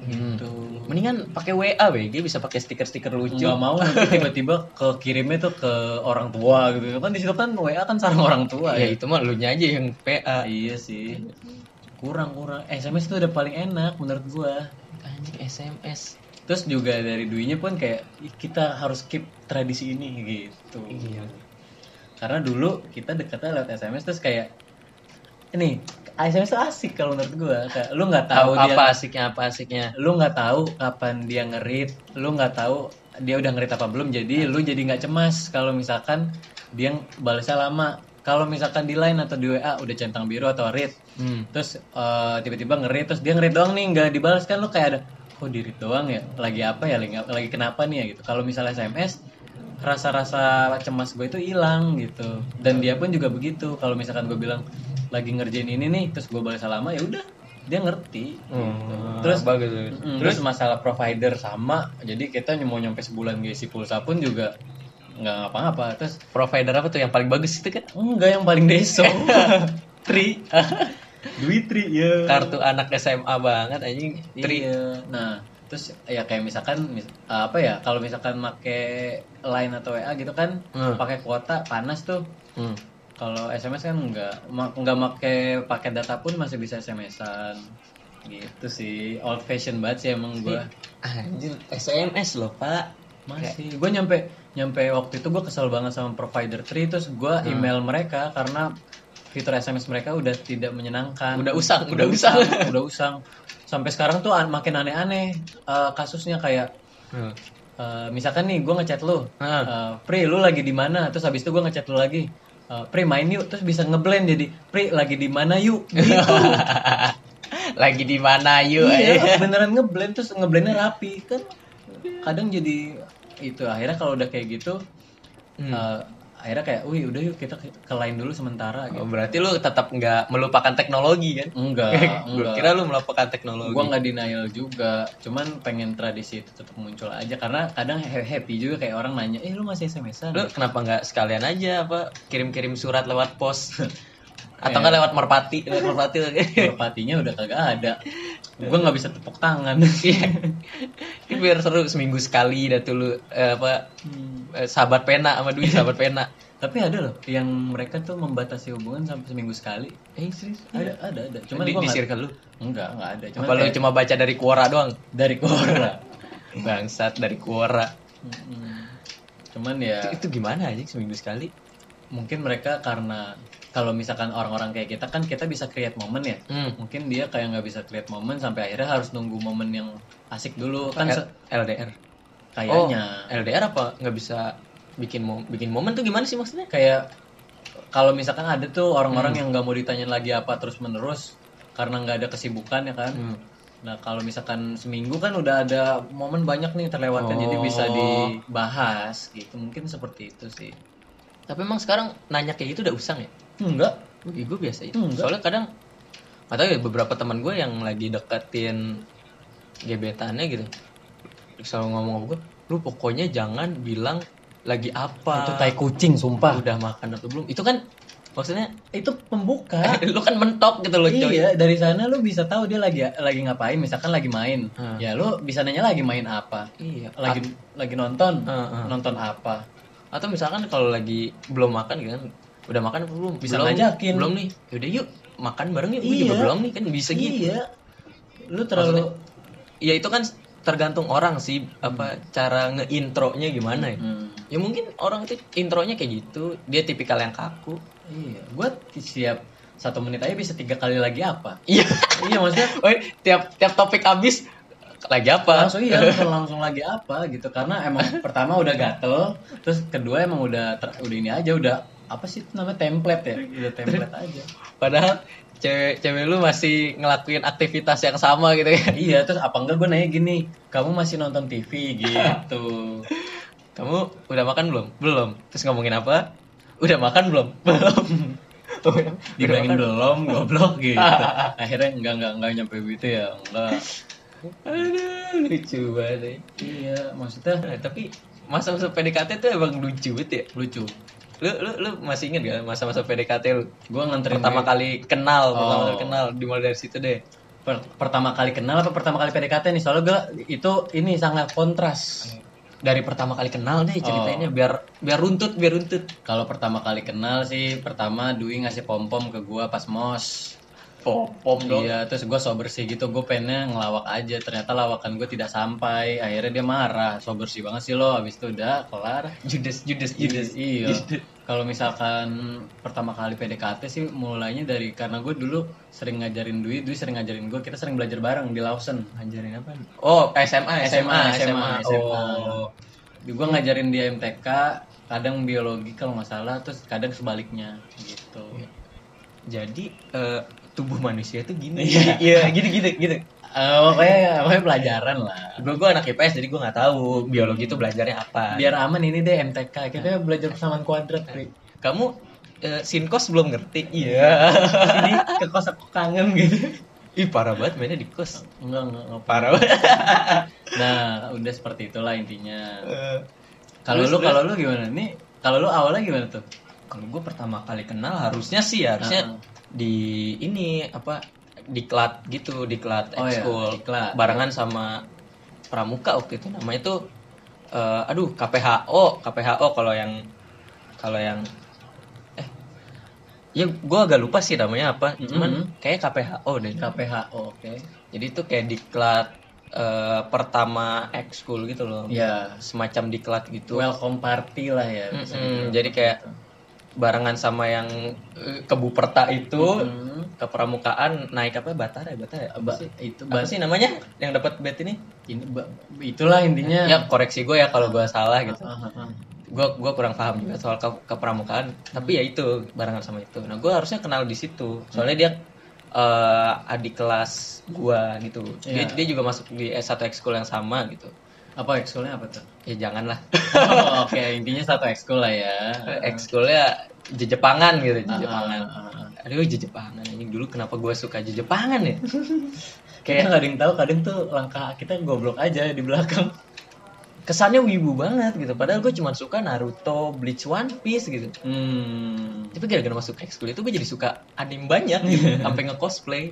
A: Hmm.
B: Tuh.
A: mendingan pakai wa bg bisa pakai stiker-stiker lucu
B: Nggak mau nanti tiba-tiba kekirimnya tuh ke orang tua gitu kan di situ kan WA kan sarang orang tua
A: ya
B: ya.
A: itu mah lu aja yang PA
B: Iya sih. Kurang kurang Eh, SMS tuh udah paling enak menurut gua.
A: anjing SMS
B: Terus juga dari duinya pun kayak "Ih, kita harus keep tradisi ini gitu.
A: Iya.
B: Karena dulu kita dekatnya lewat SMS terus kayak ini SMS tuh asik kalau menurut gua. Kayak, lu nggak tahu
A: tahu
B: dia
A: apa asiknya apa asiknya
B: lu nggak tahu kapan dia ngerit, lu nggak tahu dia udah ngerit apa belum. Jadi lu
A: Iya.
B: jadi nggak cemas kalau misalkan dia balasnya lama. Kalau misalkan di line atau di WA udah centang biru atau read,
A: hmm.
B: terus eh, tiba-tiba ngerit terus dia ngerit doang nih nggak dibalas kan lu kayak ada oh dirit doang ya lagi apa ya lagi, lagi kenapa nih ya gitu kalau misalnya sms rasa-rasa cemas gue itu hilang gitu dan dia pun juga begitu kalau misalkan gue bilang lagi ngerjain ini nih terus gue balas lama ya udah dia ngerti
A: Gitu.
B: Terus-
A: Oh, bagus
B: Mm, terus masalah provider sama jadi kita mau nyampe sebulan ngisi pulsa pun juga nggak ngapa-ngapa terus
A: provider apa tuh yang paling bagus itu kan Ah,
B: enggak yang paling deso tri duit tri ya
A: kartu anak SMA banget anjing tri
B: Iya. Nah, terus ya kayak misalkan mis- apa ya kalau misalkan make line atau WA gitu kan
A: Hmm.
B: pakai kuota panas tuh.
A: Hmm.
B: Kalau SMS kan enggak ma- enggak make pakai data pun masih bisa SMS-an. Gitu sih, old fashion banget sih emang gua.
A: anjir SMS loh pak
B: Masih gua nyampe nyampe waktu itu gua kesel banget sama provider 3 terus gua
A: Hmm.
B: email mereka karena fitur SMS mereka udah tidak menyenangkan.
A: Udah usang,
B: udah
A: udah
B: usang, udah usang. Sampai sekarang tuh an- makin aneh-aneh eh, kasusnya kayak
A: Hmm.
B: Eh, misalkan nih gue ngechat lu,
A: Heeh.
B: Eh, Pri lu lagi di mana? Terus habis itu gue ngechat lu lagi, eh, Pri main yuk terus bisa ngeblend jadi Pri lagi di mana yuk gitu
A: lagi di mana yuk
B: iya, beneran ngeblend terus ngeblendnya rapi kan kadang jadi itu akhirnya kalau udah kayak gitu
A: Hmm.
B: eh, akhirnya kayak wih udah yuk kita ke ke lain dulu sementara
A: Oh,
B: gitu
A: berarti lu tetap nggak melupakan teknologi kan?
B: enggak
A: Gue
B: enggak
A: kira lu melupakan teknologi.
B: gua nggak denial juga cuman pengen tradisi itu tetap muncul aja karena kadang he- happy juga kayak orang nanya eh lu masih sms-an
A: Lu kenapa nggak sekalian aja apa kirim-kirim surat lewat pos atau nggak
B: Eh.
A: lewat merpati? Lewat merpati. lu.
B: Merpatinya udah kagak ada gua nggak bisa tepuk tangan
A: Iya. Ini biar seru seminggu sekali dah tuh lu eh, apa
B: Hmm.
A: eh, sahabat pena sama Dwi sahabat pena.
B: tapi ada loh yang mereka tuh membatasi hubungan sampai seminggu sekali
A: Eh serius?
B: ada ada ada cuman
A: di,
B: gua
A: di
B: nggak-
A: circle lu.
B: enggak enggak ada cuman
A: Apa lu
B: kayak
A: cuma baca dari Quora doang?
B: dari Quora
A: Iya. Bangsat dari Quora. hmm.
B: Mm-mm. cuman ya
A: Itu, itu gimana aja seminggu sekali?
B: mungkin mereka karena kalau misalkan orang-orang kayak kita kan kita bisa create momen ya
A: Hmm.
B: mungkin dia kayak nggak bisa create momen sampai akhirnya harus nunggu momen yang asik dulu kan se-
A: L- LDR. Oh,
B: kayaknya
A: LDR apa nggak bisa bikin mom bikin momen tuh gimana sih maksudnya?
B: kayak kalau misalkan ada tuh orang-orang yang nggak mau ditanyain lagi apa terus menerus karena nggak ada kesibukan ya kan
A: Hmm.
B: nah kalau misalkan seminggu kan udah ada momen banyak nih terlewatkan jadi bisa
A: Oh.
B: dibahas gitu mungkin seperti itu sih
A: Tapi emang sekarang nanya kayak gitu udah usang ya?
B: enggak
A: Bagi gue biasa itu.
B: Enggak.
A: Soalnya kadang atau ya beberapa teman gue yang lagi deketin gebetannya gitu selalu ngomong sama gue, lu pokoknya jangan bilang lagi apa.
B: itu tai kucing sumpah
A: udah makan atau belum? Itu kan maksudnya
B: itu pembuka
A: lu kan mentok gitu loh coy.
B: Iya, dari sana lu bisa tahu dia lagi lagi ngapain, misalkan lagi main.
A: Hmm.
B: Ya lu bisa nanya lagi main apa.
A: Iya.
B: Lagi lagi nonton,
A: Hmm, hmm.
B: nonton apa.
A: atau misalkan kalau lagi belum makan gitu kan udah makan apa belum
B: Bisa
A: belum,
B: ngajakin.
A: belum nih yaudah yuk makan bareng yuk Gua
B: Iya.
A: juga belum nih kan bisa gitu
B: Iya. Lu terlalu
A: ya itu kan tergantung orang sih apa cara ngeintronya gimana ya
B: Hmm,
A: ya mungkin orang itu intronya kayak gitu dia tipikal yang kaku
B: iya, gua siap satu menit aja bisa tiga kali lagi apa.
A: iya
B: iya, maksudnya
A: Woy, tiap tiap topik habis lagi apa
B: langsung iya langsung, langsung lagi apa gitu karena emang pertama udah gatel terus kedua emang udah ter- udah ini aja udah apa sih itu namanya template ya udah template aja
A: padahal cewek cewek lu masih ngelakuin aktivitas yang sama gitu ya
B: Iya, terus apa enggak gue nanya gini, kamu masih nonton TV gitu.
A: kamu udah makan belum belum terus ngomongin apa udah makan belum belum Oh, iya. Udah-
B: Dibilangin belum, goblok gitu. Akhirnya enggak enggak enggak nyampe gitu ya, enggak.
A: Aduh, lucu banget. ya.
B: Iya, maksudnya
A: Nah, tapi masa-masa PDKT tuh emang lucu banget ya.
B: lucu.
A: Lu lu, lu masih inget gak masa-masa PDKT lu?
B: Gue nganterin
A: Pertama
B: dia-
A: kali kenal, pertama
B: Oh.
A: kali kenal dimulai dari situ deh.
B: per- pertama kali kenal apa pertama kali PDKT nih? Soalnya gue itu ini sangat kontras.
A: Dari pertama kali kenal deh ceritainnya
B: Oh.
A: biar biar runtut, biar runtut.
B: Kalau pertama kali kenal sih, pertama Dwi ngasih pom-pom ke gua pas mos.
A: Popom dong.
B: Iya, terus gue sober sih gitu, gue pengennya ngelawak aja, ternyata lawakan gue tidak sampai, akhirnya dia marah, sober sih banget sih lo, abis itu udah kelar.
A: Judes, judes, judes.
B: Iya, iya. Kalau misalkan pertama kali PDKT sih mulainya dari karena gue dulu sering ngajarin Dwi, Dwi sering ngajarin gue, kita sering belajar bareng di Lawson.
A: Ngajarin apa? Oh, SMA, SMA, SMA. Oh.
B: Oh. Gue ngajarin dia MTK, kadang biologi kalau nggak salah, terus kadang sebaliknya gitu.
A: Jadi eh, tubuh manusia tuh gini.
B: Iya.
A: gitu gitu gitu.
B: Eh, pokoknya, pokoknya pelajaran lah.
A: Gue gue anak IPS jadi gue nggak tahu biologi itu belajarnya apa.
B: biar aman ini deh MTK kita belajar persamaan kuadrat Pri.
A: kamu eh, sinkos belum ngerti iya
B: ini ke kos aku kangen gitu
A: ih parah banget mainnya di kos
B: enggak enggak, enggak.
A: parah banget
B: nah udah seperti itulah intinya kalau lu kalau lu gimana nih kalau lu awalnya gimana tuh
A: kalau gue pertama kali kenal harusnya sih ya, harusnya
B: Heeh.
A: di ini apa diklat gitu diklat
B: Oh iya,
A: ekskul
B: diklat.
A: barengan sama pramuka waktu itu namanya tuh eh, aduh KPHO KPHO kalau yang kalau yang eh ya gue agak lupa sih namanya apa cuman
B: Mm-mm.
A: kayak KPHO deh
B: KPHO oke
A: Jadi itu kayak diklat eh, pertama ekskul gitu loh.
B: ya
A: Semacam diklat gitu.
B: welcome party lah ya bisa
A: Mm-mm,
B: dibilang
A: jadi kayak
B: gitu.
A: barengan sama yang eh, kebuperta itu
B: Mm,
A: ke pramukaan naik apa Batara ya Batara ya?
B: ba- itu
A: Apa
B: bahasa
A: sih namanya yang dapat bet ini?
B: ini ba- itulah intinya
A: Ya koreksi gue ya kalau gue salah gitu.
B: Iya. Ah, ah, ah.
A: gua gua kurang paham juga soal ke- kepramukaan tapi ya itu barengan sama itu nah gua harusnya kenal di situ soalnya dia eh, adik kelas gua gitu dia
B: Iya.
A: dia juga masuk di S1 ekskul yang sama gitu
B: apa ekskulnya apa tuh
A: ya janganlah Eh,
B: oh, oke intinya satu ekskul lah ya
A: ekskulnya jejepangan gitu jejepangan
B: Ah, ah, ah.
A: aduh jejepangan anjing dulu kenapa gua suka jejepangan ya
B: Kayak
A: kayak
B: nggak ada yang tahu kadang tuh langkah kita goblok aja di belakang.
A: kesannya wibu banget gitu padahal gua cuma suka Naruto Bleach One Piece gitu
B: Hmm.
A: tapi gara-gara masuk ekskul itu gue jadi suka anime banyak gitu, sampai nge-cosplay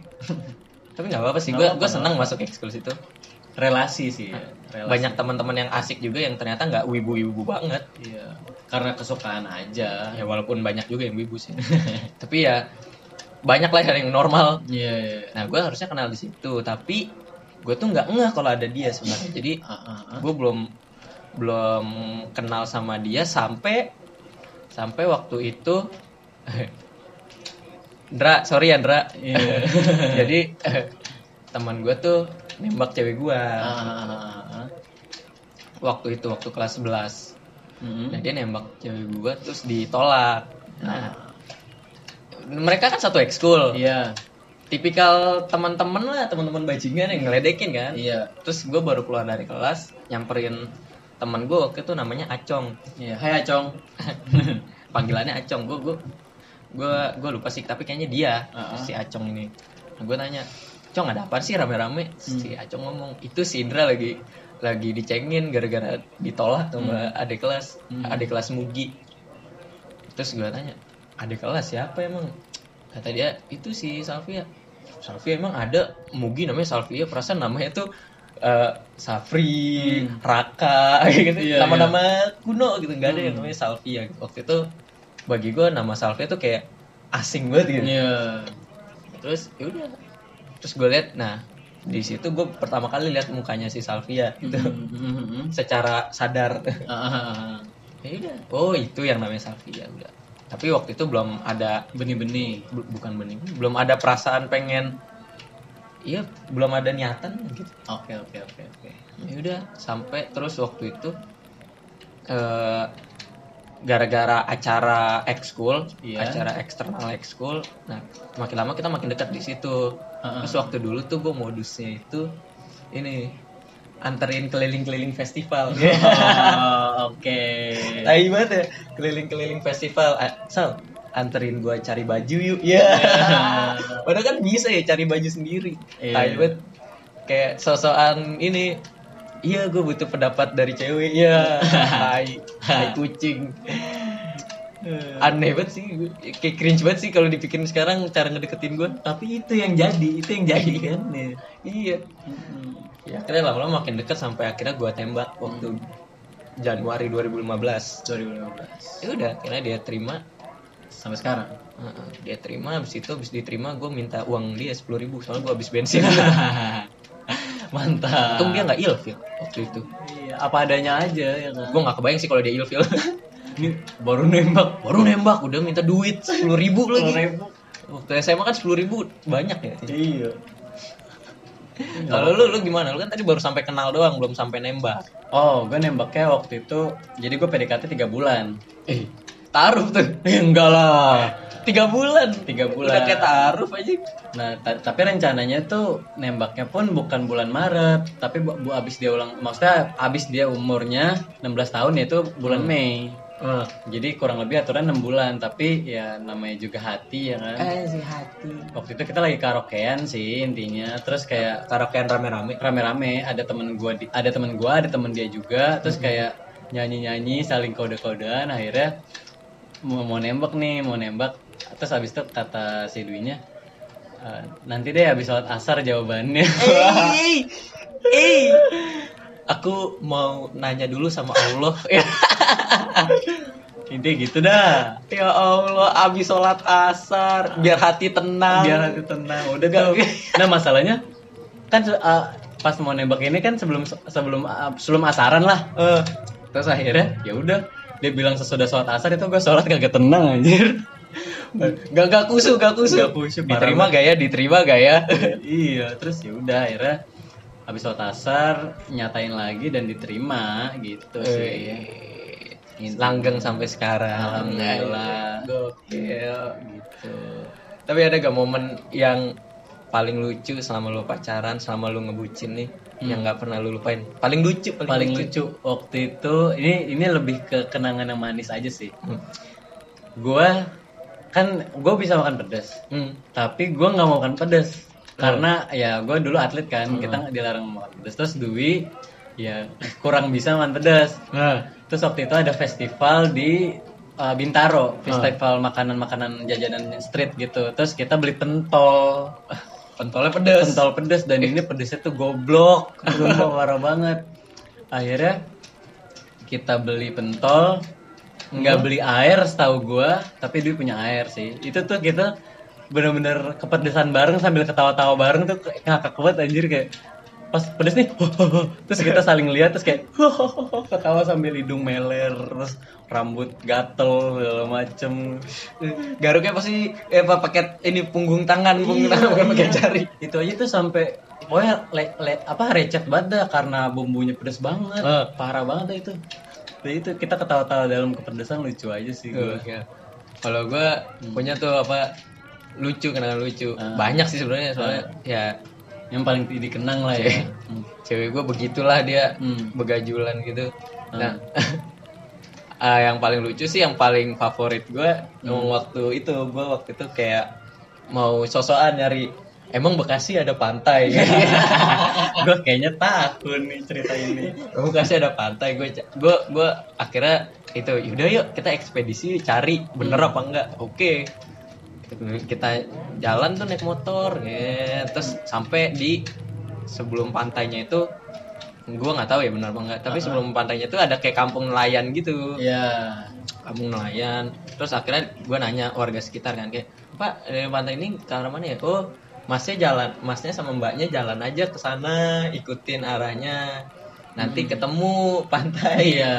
A: tapi nggak apa-apa sih gue
B: Iya. Nggak
A: gue
B: apa-apa,
A: senang masuk ekskul itu
B: Relasi sih. ya, Relasi.
A: banyak teman-teman yang asik juga yang ternyata nggak wibu-wibu banget
B: Iya. Karena kesukaan aja.
A: ya walaupun banyak juga yang wibu sih tapi ya banyak lah yang normal
B: Iya. iya.
A: nah gue harusnya kenal di situ tapi gue tuh nggak ngeh kalau ada dia sebenarnya jadi
B: Ah, ah, ah.
A: gue belum belum kenal sama dia sampai sampai waktu itu Ndra sorry ya Ndra
B: Iya.
A: jadi eh, teman gue tuh nembak cewek gue
B: Ah, ah, ah, ah.
A: waktu itu waktu kelas 11
B: Mm-mm.
A: nah dia nembak cewek gue terus ditolak nah mereka kan satu ekskul
B: Ah. Iya.
A: tipikal teman-teman lah teman-teman bajingan yang ngeledekin kan
B: Iya.
A: terus gue baru keluar dari kelas nyamperin teman gue waktu itu namanya Acong
B: Iya. Hai Acong.
A: panggilannya Acong gue gue gue gue lupa sih tapi kayaknya dia
B: Heeh.
A: si Acong ini nah, gue tanya Cong ada apa sih rame-rame si
B: Hmm.
A: Acong ngomong itu si Indra lagi lagi dicengin gara-gara ditolak sama adik kelas
B: Hmm.
A: adik kelas Mugi terus gue tanya adik kelas siapa emang kata dia itu si Salvia Salvia emang ada Mugi namanya Salvia perasaan namanya tuh eh, Safri, Raka, gitu.
B: Hmm. Iya,
A: nama-nama kuno gitu nggak ada yang
B: Hmm.
A: namanya Salvia gitu. waktu itu bagi gue nama Salvia tuh kayak asing banget gitu
B: Iya.
A: terus yaudah terus gue lihat nah di situ gue pertama kali lihat mukanya si Salvia gitu
B: Hmm. Mm-mm.
A: secara sadar
B: Mm-hmm, Ah, ah, ah.
A: ya udah oh itu yang namanya Salvia udah tapi waktu itu belum ada
B: Benih-benih.
A: bu- bukan bening belum ada perasaan pengen iya belum ada niatan gitu
B: Oke oke oke oke.
A: ya udah sampai terus waktu itu eh, gara-gara acara ekskul
B: Iya.
A: acara eksternal ekskul nah makin lama kita makin dekat di situ
B: Ah,
A: terus waktu dulu tuh gue modusnya itu ini anterin keliling-keliling festival
B: Iya. Oh, Oke.
A: Tai banget ya keliling-keliling festival Ah, Sal anterin gue cari baju yuk ya padahal kan bisa ya cari baju sendiri
B: Iya.
A: Tai banget kayak sosokan ini iya gue butuh pendapat dari cewek ya tai tai kucing aneh banget sih gua. kayak cringe banget sih kalau dipikirin sekarang cara ngedeketin gue
B: Tapi itu yang jadi, itu yang jadi kan. ya.
A: iya ya, akhirnya lama-lama makin dekat sampai akhirnya gue tembak waktu Januari 2015
B: 2015
A: ya udah akhirnya dia terima
B: sampai sekarang.
A: Heeh, dia terima habis itu habis diterima gue minta uang dia sepuluh ribu soalnya gue habis bensin
B: Mantap.
A: untung dia nggak ilfil waktu itu
B: Iya, apa adanya aja ya kan.
A: gue nggak kebayang sih kalau dia ilfil
B: Ini baru nembak
A: baru nembak udah minta duit sepuluh ribu lagi
B: ribu.
A: waktu SMA kan sepuluh ribu banyak ya
B: Iya.
A: kalau lu lu gimana lu kan tadi baru sampai kenal doang belum sampai nembak
B: Oh, gue nembaknya waktu itu, jadi gue PDKT 3 bulan.
A: eh taruh tuh Ya,
B: Enggak lah.
A: tiga bulan
B: Tiga bulan.
A: udah kayak taruh aja
B: Nah, ta- tapi rencananya tuh nembaknya pun bukan bulan Maret, tapi bu, bu- abis dia ulang, maksudnya abis dia umurnya 16 tahun yaitu bulan Mei. Jadi kurang lebih aturan 6 bulan, tapi ya namanya juga hati ya kan.
A: eh si hati
B: Waktu itu kita lagi karaokean sih intinya, terus kayak
A: karaokean rame-rame
B: rame-rame ada temen gua di- ada temen gua ada temen dia juga terus kayak nyanyi-nyanyi saling kode-kodean akhirnya mau, mau nembak nih mau nembak terus habis itu kata si Dwi nya nanti deh habis sholat asar jawabannya
A: Eh, eh. Aku mau nanya dulu sama Allah. Ya,
B: intinya gitu dah
A: ya Allah, abis sholat asar, biar hati tenang.
B: biar hati tenang udah tuh nah masalahnya kan se- eh, pas mau nembak ini kan sebelum sebelum eh, sebelum asaran lah
A: Eh,
B: terus akhirnya ya udah dia bilang sesudah sholat asar itu gua sholat kagak tenang anjir
A: gak gak kusu, gak kusu.
B: Gak kusu, parah
A: diterima gak ya? Diterima gak ya?
B: iya terus ya udah akhirnya habis sholat asar nyatain lagi dan diterima gitu sih
A: Eh, langgeng sampai sekarang
B: Alhamdulillah.
A: gokil gitu tapi ada gak momen yang paling lucu selama lu pacaran selama lu ngebucin nih yang nggak pernah lu lupain paling lucu paling,
B: Hmm. paling lucu waktu itu ini ini lebih ke kenangan yang manis aja sih
A: Hmm.
B: gua kan gua bisa makan pedas
A: Hmm.
B: tapi gua nggak mau makan pedas karena ya gua dulu atlet kan kita nggak dilarang makan pedas terus Dwi ya kurang bisa makan pedas
A: Nah,
B: terus waktu itu ada festival di uh, Bintaro festival makanan-makanan jajanan street gitu terus kita beli pentol
A: pentolnya pedes
B: pentol pedes dan ini pedesnya tuh goblok Sumpah, parah banget akhirnya kita beli pentol nggak beli air setahu gua tapi dia punya air sih itu tuh kita bener-bener kepedesan bareng sambil ketawa-tawa bareng tuh kayak ngakak banget anjir kayak pas pedes nih terus kita saling lihat terus kayak ketawa sambil hidung meler terus rambut gatel segala macem
A: garuknya pasti eh, apa paket ini punggung tangan punggung tangan bukan pakai jari
B: itu aja tuh sampai pokoknya le- le- apa recet banget dah karena bumbunya pedes banget
A: Eh.
B: parah banget dah itu Nah, itu kita ketawa-tawa dalam kepedesan lucu aja sih gue
A: Gokil. Iya, Kalau gue punya tuh apa lucu kenangan lucu. Banyak sih sebenarnya soalnya ya
B: yang paling dikenang lah ya Hmm.
A: cewek gue begitulah dia
B: Hmm.
A: begajulan gitu. Nah, ah, yang paling lucu sih yang paling favorit gue waktu itu gue waktu itu kayak mau sosokan nyari emang Bekasi ada pantai.
B: gue kayaknya takut nih cerita ini
A: Bekasi Oh, ada pantai gue gue gue akhirnya itu yaudah yuk kita ekspedisi cari bener apa enggak oke kita jalan tuh naik motor ya terus sampai di sebelum pantainya itu gue nggak tahu ya benar apa enggak tapi sebelum pantainya itu ada kayak kampung nelayan gitu
B: ya
A: kampung nelayan terus akhirnya gue nanya warga sekitar kan kayak pak dari pantai ini ke arah mana ya oh masnya jalan masnya sama mbaknya jalan aja ke sana ikutin arahnya nanti ketemu pantai
B: Hmm. Iya.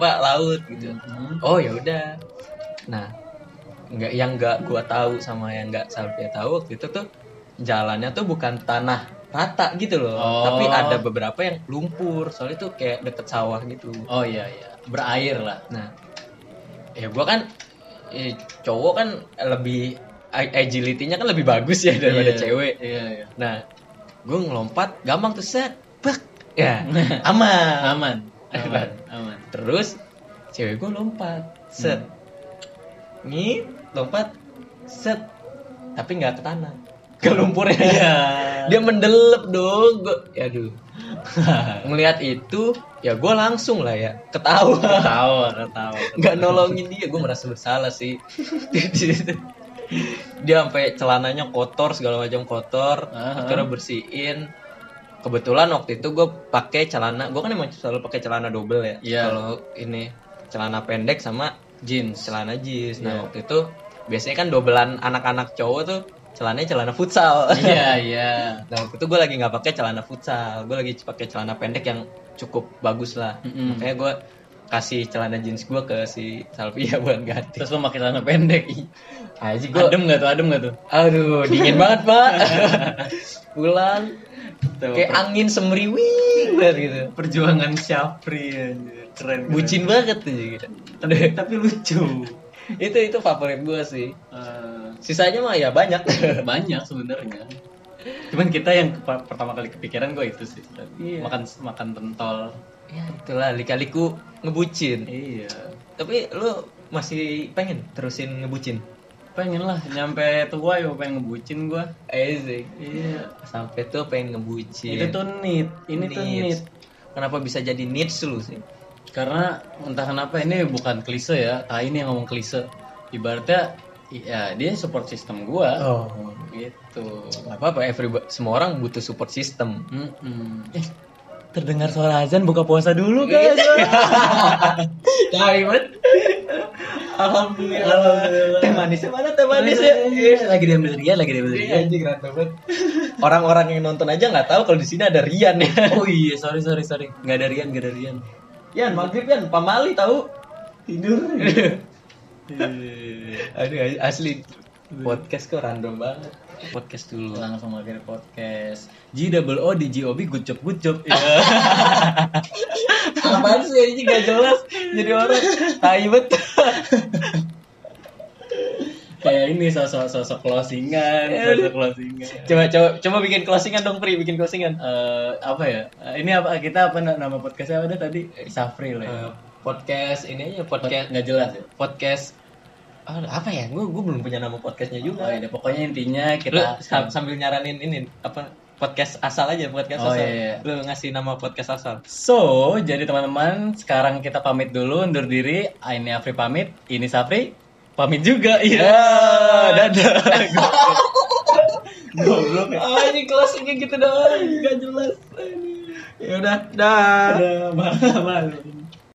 A: apa laut gitu
B: Mhm.
A: oh ya udah nah nggak yang nggak gua tahu sama yang nggak Salvia tahu waktu itu tuh jalannya tuh bukan tanah rata gitu loh
B: Oh.
A: tapi ada beberapa yang lumpur soalnya tuh kayak deket sawah gitu
B: oh iya iya berair lah
A: Nah, ya gua kan eh, cowok kan lebih a- agility-nya kan lebih bagus ya daripada
B: Iya.
A: cewek.
B: iya iya
A: Nah, gue ngelompat gampang tuh set, bak, ya aman.
B: aman Ah. aman aman
A: Terus cewek gue lompat, set, nih Hmm. lompat, set, tapi nggak ke tanah, ke lumpurnya.
B: iya
A: Dia mendelep dong, gue, aduh. Ngelihat itu, ya gue langsung lah ya ketawa.
B: ketawa ketawa
A: nggak nolongin dia gue merasa bersalah sih dia sampai celananya kotor segala macam kotor
B: Aha.
A: akhirnya bersihin kebetulan waktu itu gue pakai celana gue kan emang selalu pakai celana double ya
B: Iya.
A: kalau ini celana pendek sama
B: jeans
A: celana jeans nah
B: Iya.
A: waktu itu biasanya kan dobelan anak-anak cowok tuh celananya celana futsal
B: iya iya
A: nah waktu itu gue lagi nggak pakai celana futsal gue lagi pakai celana pendek yang cukup bagus lah
B: Mm-mm.
A: makanya gue kasih celana jeans gue ke si Salvia buat ganti
B: terus lo pakai celana pendek
A: aja gue
B: adem nggak tuh adem nggak tuh
A: aduh dingin banget pak pulang kayak angin semriwing banget gitu
B: perjuangan Syafri anjir. keren keren.
A: bucin banget tuh gitu.
B: tapi, tapi lucu
A: itu itu favorit gue sih
B: Eh,
A: sisanya mah ya banyak
B: banyak sebenarnya cuman kita yang kepa- pertama kali kepikiran gue itu sih
A: Iya.
B: makan makan pentol
A: ya itulah lika-liku ngebucin
B: iya
A: tapi lu masih pengen terusin ngebucin
B: pengen lah nyampe tua ya pengen ngebucin gue
A: Easy.
B: iya
A: sampai tuh pengen ngebucin
B: itu tuh nit ini tuh nit
A: Needs. Kenapa bisa jadi needs lu sih?
B: karena entah kenapa ini bukan klise ya ah ini yang ngomong klise ibaratnya ya dia support system gua
A: Oh.
B: gitu
A: Gak apa-apa, every, semua orang butuh support system.
B: Mm-mm. Eh, terdengar suara azan buka puasa dulu guys
A: Dari Alhamdulillah.
B: Alhamdulillah.
A: Teh manisnya mana teh ya? manisnya?
B: Manisnya. Eh, lagi diambil Rian lagi diambil
A: Iya,
B: Rian
A: anjing, random banget. Orang-orang yang nonton aja nggak tahu kalau di sini ada Rian ya.
B: oh iya sorry sorry sorry nggak ada Rian nggak ada Rian
A: Yan, maghrib Yan, pamali tahu.
B: tidur
A: Iya. Aduh, asli podcast kok random banget. Podcast dulu.
B: langsung makin podcast G double O di G O B good job good job Iya.
A: Apaan sih ini gak jelas? jadi orang tai bet
B: kayak ini sosok sosok closingan
A: Ya udah.
B: sosok closingan
A: coba coba coba bikin closingan dong Pri bikin closingan
B: Eh, apa ya Eh, ini apa kita apa na- nama podcastnya apa tadi Safri lah ya.
A: Eh, podcast ini aja
B: Pod-
A: podcast
B: nggak jelas ya
A: podcast ah, apa ya gue gue belum punya nama podcastnya
B: Oh,
A: juga
B: ya udah, pokoknya intinya
A: lu
B: kita
A: sam- sambil nyaranin ini apa podcast asal aja podcast
B: Oh,
A: asal
B: iya, iya.
A: lu ngasih nama podcast asal
B: So, jadi teman-teman, sekarang kita pamit dulu, undur diri. Ini Afri pamit, ini Safri pamit juga. Iya, dadah. Goblok ya.
A: ah ini kelas ini gitu doang gak jelas ya udah dah
B: Dadah, malu, malu.